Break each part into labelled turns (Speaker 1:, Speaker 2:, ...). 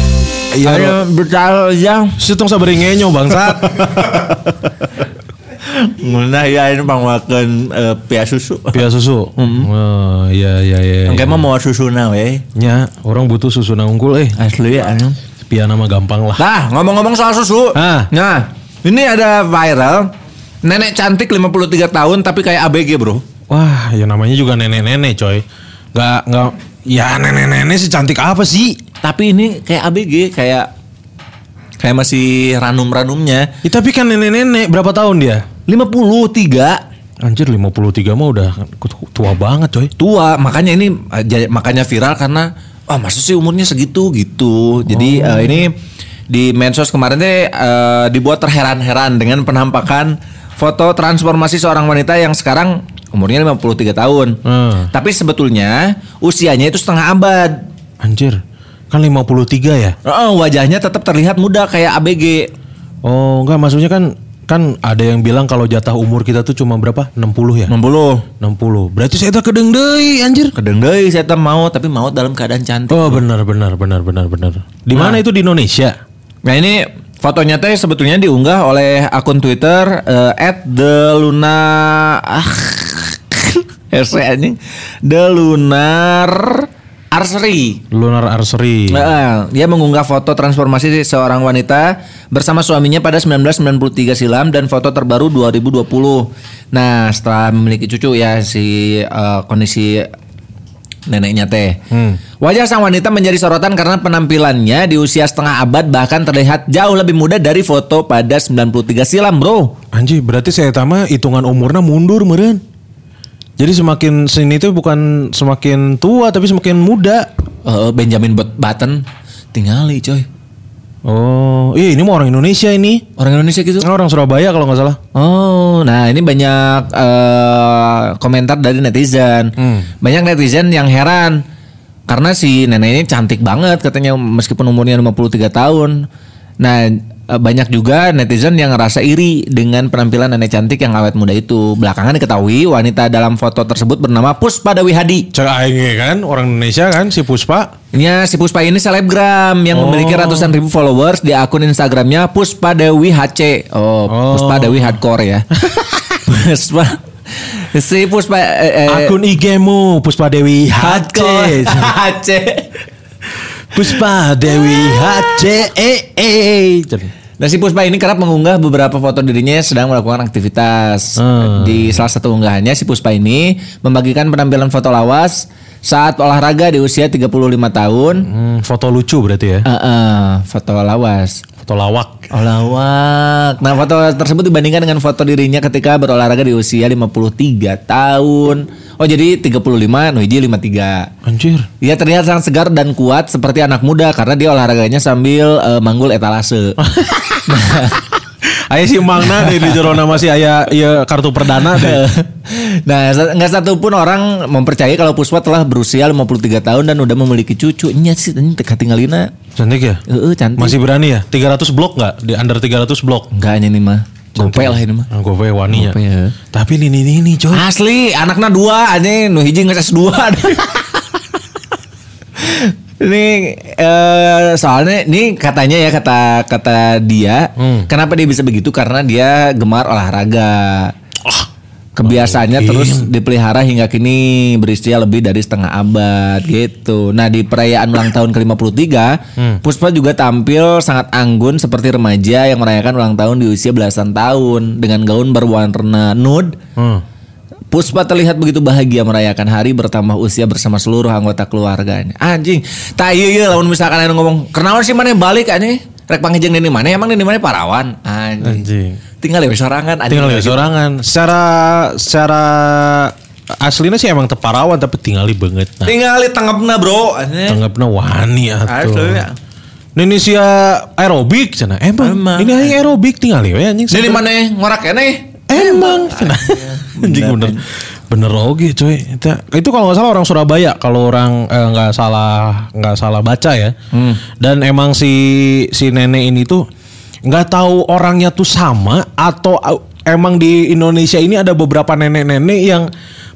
Speaker 1: ya.
Speaker 2: Ayo iya. bertaruh aja.
Speaker 1: Situ tong sabari ngenyo bangsat.
Speaker 2: Munah ya ini pangwakeun eh, pia susu.
Speaker 1: Pia susu. Oh, iya iya iya.
Speaker 2: Engke
Speaker 1: iya.
Speaker 2: mah mau susuna we.
Speaker 1: Nya, orang butuh susu nangkul eh.
Speaker 2: Asli ya anu.
Speaker 1: Pia nama gampang lah.
Speaker 2: Nah, ngomong-ngomong soal susu.
Speaker 1: Ah.
Speaker 2: Nah, ini ada viral. Nenek cantik 53 tahun tapi kayak ABG, Bro.
Speaker 1: Wah, ya namanya juga nenek-nenek coy. Gak, gak, ya nenek-nenek sih cantik apa sih?
Speaker 2: Tapi ini kayak ABG, kayak kayak masih ranum-ranumnya.
Speaker 1: Ya, tapi kan nenek-nenek berapa tahun dia?
Speaker 2: 53
Speaker 1: Anjir 53 mah udah tua banget coy.
Speaker 2: tua, makanya ini eh, ja- makanya viral karena ah masa sih umurnya segitu gitu. Jadi eh, ini di medsos kemarin teh eh, dibuat terheran-heran dengan penampakan foto transformasi seorang wanita yang sekarang umurnya 53 tahun.
Speaker 1: Hmm.
Speaker 2: Tapi sebetulnya usianya itu setengah abad.
Speaker 1: Anjir. Kan 53 ya?
Speaker 2: Eh, wajahnya tetap terlihat muda kayak ABG.
Speaker 1: Oh, enggak maksudnya kan kan ada yang bilang kalau jatah umur kita tuh cuma berapa? 60 ya?
Speaker 2: 60.
Speaker 1: 60. Berarti saya tak kedeng deui, anjir.
Speaker 2: Kedeng deui saya teh mau tapi mau dalam keadaan cantik.
Speaker 1: Oh, benar benar benar benar benar. Di mana itu di Indonesia?
Speaker 2: Nah ini fotonya teh sebetulnya diunggah oleh akun Twitter eh, at the Luna ah, RC anjing the Lunar Arsri.
Speaker 1: Lunar Arsery.
Speaker 2: Heeh, dia mengunggah foto transformasi seorang wanita bersama suaminya pada 1993 silam dan foto terbaru 2020. Nah, setelah memiliki cucu ya si eh, kondisi neneknya teh. Wajah sang wanita menjadi sorotan karena penampilannya di usia setengah abad bahkan terlihat jauh lebih muda dari foto pada 93 silam, Bro.
Speaker 1: Anjir, berarti saya tama hitungan umurnya mundur meren. Jadi semakin sini tuh bukan semakin tua tapi semakin muda.
Speaker 2: Eh, Benjamin But- Button tingali, coy.
Speaker 1: Oh, iya ini mah orang Indonesia ini.
Speaker 2: Orang Indonesia gitu.
Speaker 1: Orang Surabaya kalau nggak salah.
Speaker 2: Oh, nah ini banyak eh, komentar dari netizen. Banyak netizen yang heran karena si nenek ini cantik banget katanya meskipun umurnya 53 tahun. Nah, eh, banyak juga netizen yang ngerasa iri dengan penampilan nenek cantik yang awet muda itu. Belakangan diketahui wanita dalam foto tersebut bernama Puspa Dewi Hadi.
Speaker 1: Cek aing ge kan orang Indonesia kan si Puspa.
Speaker 2: Ya, si Puspa ini selebgram yang
Speaker 1: Oh.
Speaker 2: memiliki ratusan ribu followers di akun Instagramnya Puspa Dewi HC. Oh, Puspa Dewi Hardcore ya. Puspa si Puspa eh, eh,
Speaker 1: Akun IG-mu Puspa Dewi
Speaker 2: Hardcore
Speaker 1: HC.
Speaker 2: HC.
Speaker 1: Puspa Dewi HC. Eh, eh.
Speaker 2: Nah, si Puspa ini kerap mengunggah beberapa foto dirinya sedang melakukan aktivitas.
Speaker 1: Hmm.
Speaker 2: Di salah satu unggahannya si Puspa ini membagikan penampilan foto lawas saat olahraga di usia 35 tahun.
Speaker 1: Hmm, foto lucu berarti ya.
Speaker 2: Eh, eh, foto lawas.
Speaker 1: Foto lawak.
Speaker 2: Oh lawak. Nah foto tersebut dibandingkan dengan foto dirinya ketika berolahraga di usia 53 tahun. Oh jadi 35, Nuhiji 53.
Speaker 1: Anjir.
Speaker 2: Ia terlihat sangat segar dan kuat seperti anak muda karena dia olahraganya sambil eh, manggul etalase. Nah,
Speaker 1: Ayah si Mangna deh, di Jorona masih ayah ya kartu perdana deh.
Speaker 2: nah sa- nggak satupun orang mempercayai kalau Puspa telah berusia 53 tahun dan udah memiliki cucu. Nya sih ini teka tinggalina.
Speaker 1: Cantik ya?
Speaker 2: Heeh cantik.
Speaker 1: Masih berani ya? 300 blok nggak? Di under 300 blok.
Speaker 2: Enggaknya ini mah. Gope lah ini mah.
Speaker 1: Nah, gue pake waninya.
Speaker 2: Gope ya.
Speaker 1: Tapi ini ini ini coy.
Speaker 2: Asli, anaknya dua aja, nu hiji nges dua. Ini eh, soalnya ini katanya ya kata kata dia, kenapa dia bisa begitu karena dia gemar olahraga. Kebiasaannya terus dipelihara hingga kini berusia lebih dari setengah abad gitu. Nah di perayaan ulang tahun ke-53, Puspa juga tampil sangat anggun seperti remaja yang merayakan ulang tahun di usia belasan tahun dengan gaun berwarna nude
Speaker 1: Hmm.
Speaker 2: Puspa terlihat begitu bahagia merayakan hari bertambah usia bersama seluruh anggota keluarganya. Anjing, tak iya iya lamun misalkan anu ngomong, "Kenaon sih mana balik aneh? Rek pangejeung deui mana? Emang deui mana parawan?" Anjing.
Speaker 1: Anjing.
Speaker 2: Tinggal ya sorangan anjing.
Speaker 1: Tinggal di sorangan. Secara secara aslinya sih emang teparawan tapi tinggal di banget. Nah,
Speaker 2: Tinggal di tanggapna, Bro. Anjing.
Speaker 1: tanggapnya wani ya, atuh.
Speaker 2: Asli.
Speaker 1: Indonesia eh, aerobik cina emang,
Speaker 2: Emang.
Speaker 1: ini aing aerobik tinggal ya anjing
Speaker 2: Deui mana ngorak ya keneh?
Speaker 1: emang cina Iya, anjing bener bener oge cuy itu, itu kalau nggak salah orang Surabaya kalau orang eh, nggak salah nggak salah baca ya dan emang si si nenek ini tuh nggak tahu orangnya tuh sama atau au- emang di Indonesia ini ada beberapa nenek-nenek yang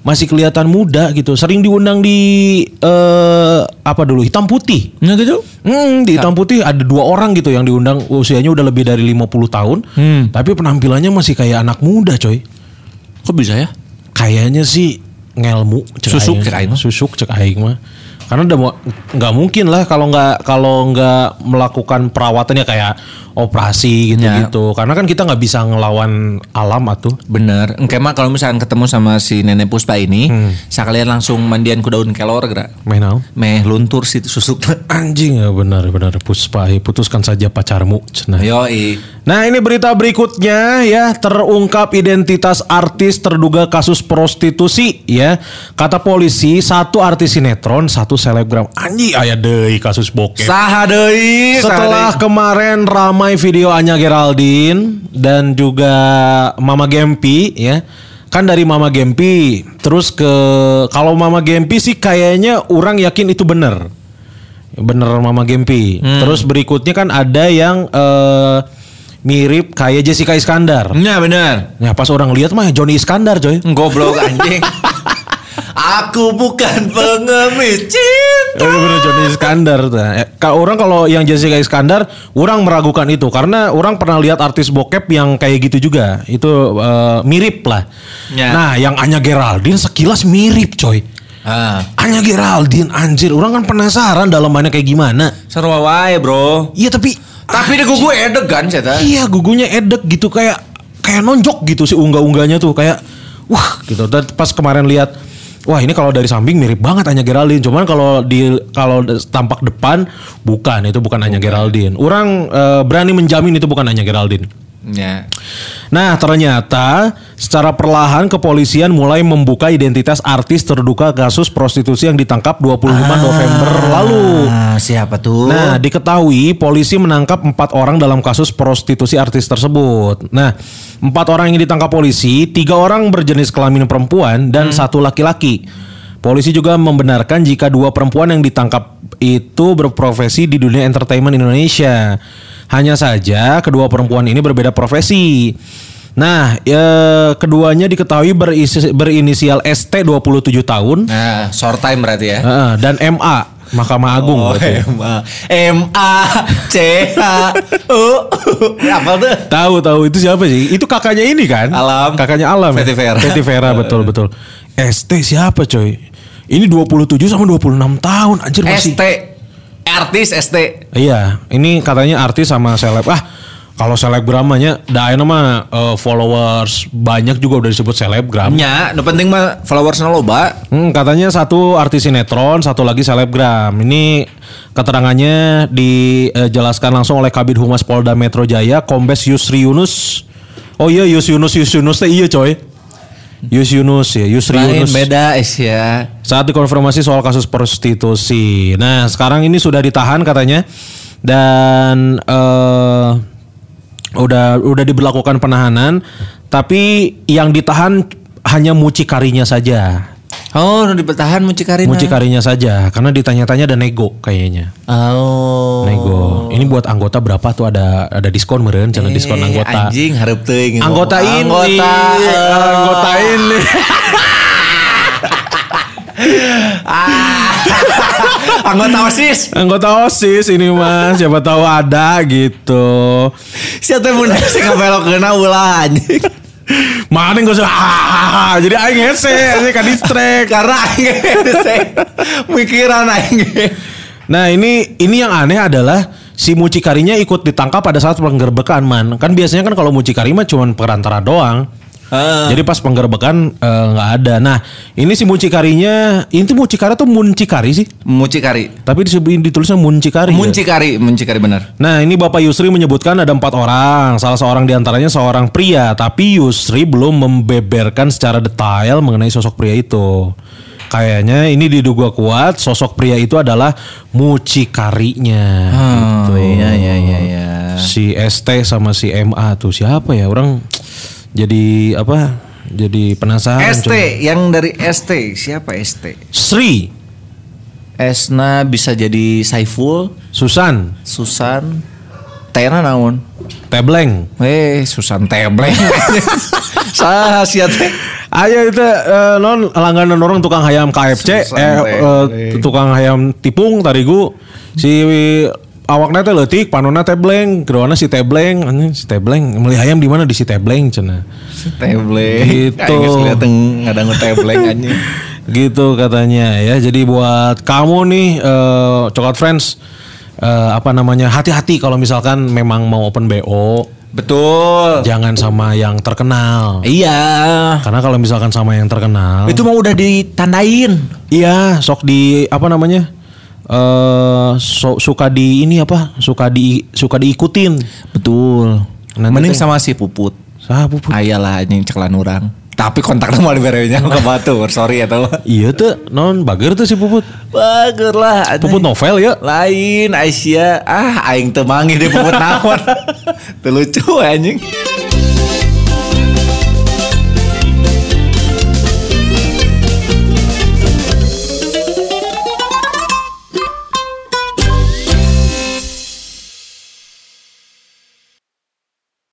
Speaker 1: masih kelihatan muda gitu sering diundang di eh apa dulu hitam putih.
Speaker 2: Nah gitu.
Speaker 1: Hmm, di hitam putih ada dua orang gitu yang diundang usianya udah lebih dari 50 tahun,
Speaker 2: Hmm.
Speaker 1: tapi penampilannya masih kayak anak muda, coy.
Speaker 2: Kok bisa ya?
Speaker 1: Kayaknya sih ngelmu cek
Speaker 2: Susuk cek aing mah.
Speaker 1: susuk cek aing mah. Karena udah mau- nggak mungkin lah kalau nggak kalau nggak melakukan perawatannya kayak
Speaker 2: Ya.
Speaker 1: operasi gitu-gitu. Karena kan kita nggak bisa ngelawan alam atuh.
Speaker 2: Bener. Engke mah kalau misalkan ketemu sama si nenek puspa ini,
Speaker 1: Hmm.
Speaker 2: sekalian langsung mandian ku daun kelor gerak.
Speaker 1: Main naon?
Speaker 2: Meh luntur si susuk.
Speaker 1: Anjing ya benar-benar puspa Hei, putuskan saja pacarmu. Cenah.
Speaker 2: Yoi.
Speaker 1: Nah ini berita berikutnya ya terungkap identitas artis terduga kasus prostitusi ya kata polisi satu artis sinetron satu selebgram anji ayah deh kasus bokep.
Speaker 2: Saha deui, saha
Speaker 1: Setelah
Speaker 2: deui.
Speaker 1: kemarin ramai video Anya Geraldine dan juga Mama Gempi ya. Kan dari Mama Gempi terus ke kalau Mama Gempi sih kayaknya orang yakin itu bener. Bener Mama Gempi. Terus berikutnya kan ada yang eh, mirip kayak Jessica Iskandar.
Speaker 2: Nya bener.
Speaker 1: Nah, pas orang lihat mah Johnny Iskandar, coy.
Speaker 2: Goblok anjing. Aku bukan pengemis cinta.
Speaker 1: Itu bener Johnny Iskandar tuh. Eh, ka- orang kalau yang Jessica Iskandar, orang meragukan itu karena orang pernah lihat artis bokep yang kayak gitu juga. Itu eh, mirip lah.
Speaker 2: Ya.
Speaker 1: Nah, yang Anya Geraldine sekilas mirip, coy.
Speaker 2: Ah,
Speaker 1: Anya Geraldine anjir, orang kan penasaran dalamannya kayak gimana.
Speaker 2: seru wae, Bro.
Speaker 1: Iya, tapi
Speaker 2: Tapi deh gue edeg kan, Ceta.
Speaker 1: iya gugunya edek gitu kayak kayak nonjok gitu si unggah-unggahnya tuh kayak wah gitu. Dan pas kemarin lihat Wah ini kalau dari samping mirip banget Anya Geraldine, cuman kalau di kalau de- tampak depan bukan itu bukan Anya Geraldine. Orang eh, berani menjamin itu bukan Anya Geraldine.
Speaker 2: Ya.
Speaker 1: Nah ternyata secara perlahan kepolisian mulai membuka identitas artis terduga kasus prostitusi yang ditangkap 25 November lalu.
Speaker 2: Ah, siapa tuh?
Speaker 1: Nah, diketahui polisi menangkap empat orang dalam kasus prostitusi artis tersebut. Nah, empat orang yang ditangkap polisi, tiga orang berjenis kelamin perempuan dan satu laki-laki. Polisi juga membenarkan jika dua perempuan yang ditangkap itu berprofesi di dunia entertainment Indonesia. Hanya saja kedua perempuan ini berbeda profesi. Nah, eh, keduanya diketahui berisi- berinisial ST 27 tahun
Speaker 2: Nah, short time berarti ya.
Speaker 1: eh, dan MA Mahkamah Agung
Speaker 2: Oh,
Speaker 1: berarti.
Speaker 2: M A M A C H U apa tuh?
Speaker 1: Tahu tahu itu siapa sih? Itu kakaknya ini kan?
Speaker 2: Alam.
Speaker 1: Kakaknya Alam. ya?
Speaker 2: Fetty Vera.
Speaker 1: Fetty Vera betul betul. ST siapa coy? Ini 27 sama 26 tahun anjir masih.
Speaker 2: ST artis ST.
Speaker 1: Iya, ini katanya artis sama seleb. Ah, kalau selebgramanya da ayeuna mah eh, followers banyak juga udah disebut selebgram.
Speaker 2: Nya, nu Ya, penting mah followersnya loba.
Speaker 1: Hmm, katanya satu artis sinetron, satu lagi selebgram. Ini keterangannya dijelaskan langsung oleh Kabid Humas Polda Metro Jaya, Kombes Yusri Yunus. Oh iya Yus Yunus Yus Yunus teh iya coy. Yus Yunus ya, Yusri
Speaker 2: Lain
Speaker 1: Yunus.
Speaker 2: beda es ya.
Speaker 1: Saat dikonfirmasi soal kasus prostitusi. Nah, sekarang ini sudah ditahan katanya dan eh, udah udah diberlakukan penahanan, tapi yang ditahan hanya mucikarinya saja.
Speaker 2: Oh, nu dipetahan mucikarina.
Speaker 1: Mucikarinya saja, karena ditanya-tanya ada nego kayaknya.
Speaker 2: Oh.
Speaker 1: Nego. Ini buat anggota berapa tuh ada ada diskon meren, channel
Speaker 2: Eh,
Speaker 1: Nah, diskon anggota.
Speaker 2: Anjing harap teuing.
Speaker 1: Anggota ini. eh,
Speaker 2: Anggota. eh.
Speaker 1: Anggota ini.
Speaker 2: anggota OSIS.
Speaker 1: Anggota OSIS ini Mas, siapa tahu ada gitu.
Speaker 2: Siapa yang mau sing ngabelokkeuna ulah anjing.
Speaker 1: Mana yang gak usah ah, jadi aing kan. hese, hese ka distrek.
Speaker 2: Karena anjing sing mikiran anjing.
Speaker 1: Nah ini ini yang aneh adalah si mucikarinya ikut ditangkap pada saat penggerbekan man. Kan biasanya kan kalau mucikari mah cuma perantara doang.
Speaker 2: Heeh.
Speaker 1: Jadi pas penggerbekan eh, nggak ada. Nah ini si mucikarinya, ini tuh mucikari tuh muncikari sih.
Speaker 2: Mucikari.
Speaker 1: Tapi disebut- ditulisnya muncikari. ya.
Speaker 2: Muncikari, muncikari benar.
Speaker 1: Nah ini Bapak Yusri menyebutkan ada empat orang Salah seorang diantaranya seorang pria Tapi Yusri belum membeberkan secara detail mengenai sosok pria itu Kayaknya ini diduga kuat sosok pria itu adalah mucikarinya gitu.
Speaker 2: iya iya iya iya.
Speaker 1: Si ST sama si MA tuh siapa ya orang jadi apa jadi penasaran
Speaker 2: ST
Speaker 1: coy.
Speaker 2: yang dari ST siapa ST?
Speaker 1: Sri
Speaker 2: Esna bisa jadi Saiful,
Speaker 1: Susan
Speaker 2: Susan, Tena naon?
Speaker 1: Tebleng
Speaker 2: Eh, Susan Teble. Saha sia teh.
Speaker 1: Ayo itu eh, non langganan orang tukang hayam KFC, eh, eh, tukang hayam tipung tarigu si awaknya teh leutik, panona teh bleng, keduana si teh bleng, anjing, si teh bleng, meli hayam di mana di si teh bleng cenah.
Speaker 2: Tebleng.
Speaker 1: Gitu.
Speaker 2: Aing geus liat teng- ngadangu tebleng anjing.
Speaker 1: gitu katanya ya jadi buat kamu nih eh coklat friends eh, apa namanya hati-hati kalau misalkan memang mau open bo
Speaker 2: Betul.
Speaker 1: jangan sama yang terkenal
Speaker 2: Iya.
Speaker 1: karena kalau misalkan sama yang terkenal
Speaker 2: Itu mah udah ditandain.
Speaker 1: iya sok di apa namanya eh so- suka di ini apa suka di suka diikutin
Speaker 2: Betul.
Speaker 1: Nanti
Speaker 2: Mending
Speaker 1: teh-
Speaker 2: sama si Puput.
Speaker 1: Sah, puput.
Speaker 2: Ayalah anjing ceklan orang. Tapi kontak nama barengnya ke batur. Sorry ya tuh.
Speaker 1: iya tuh non bager tuh si puput
Speaker 2: Bagus lah. anjing.
Speaker 1: puput novel ya
Speaker 2: Lain Aisyah. Ah aing temangi deh Puput naon. Teu lucu anjing.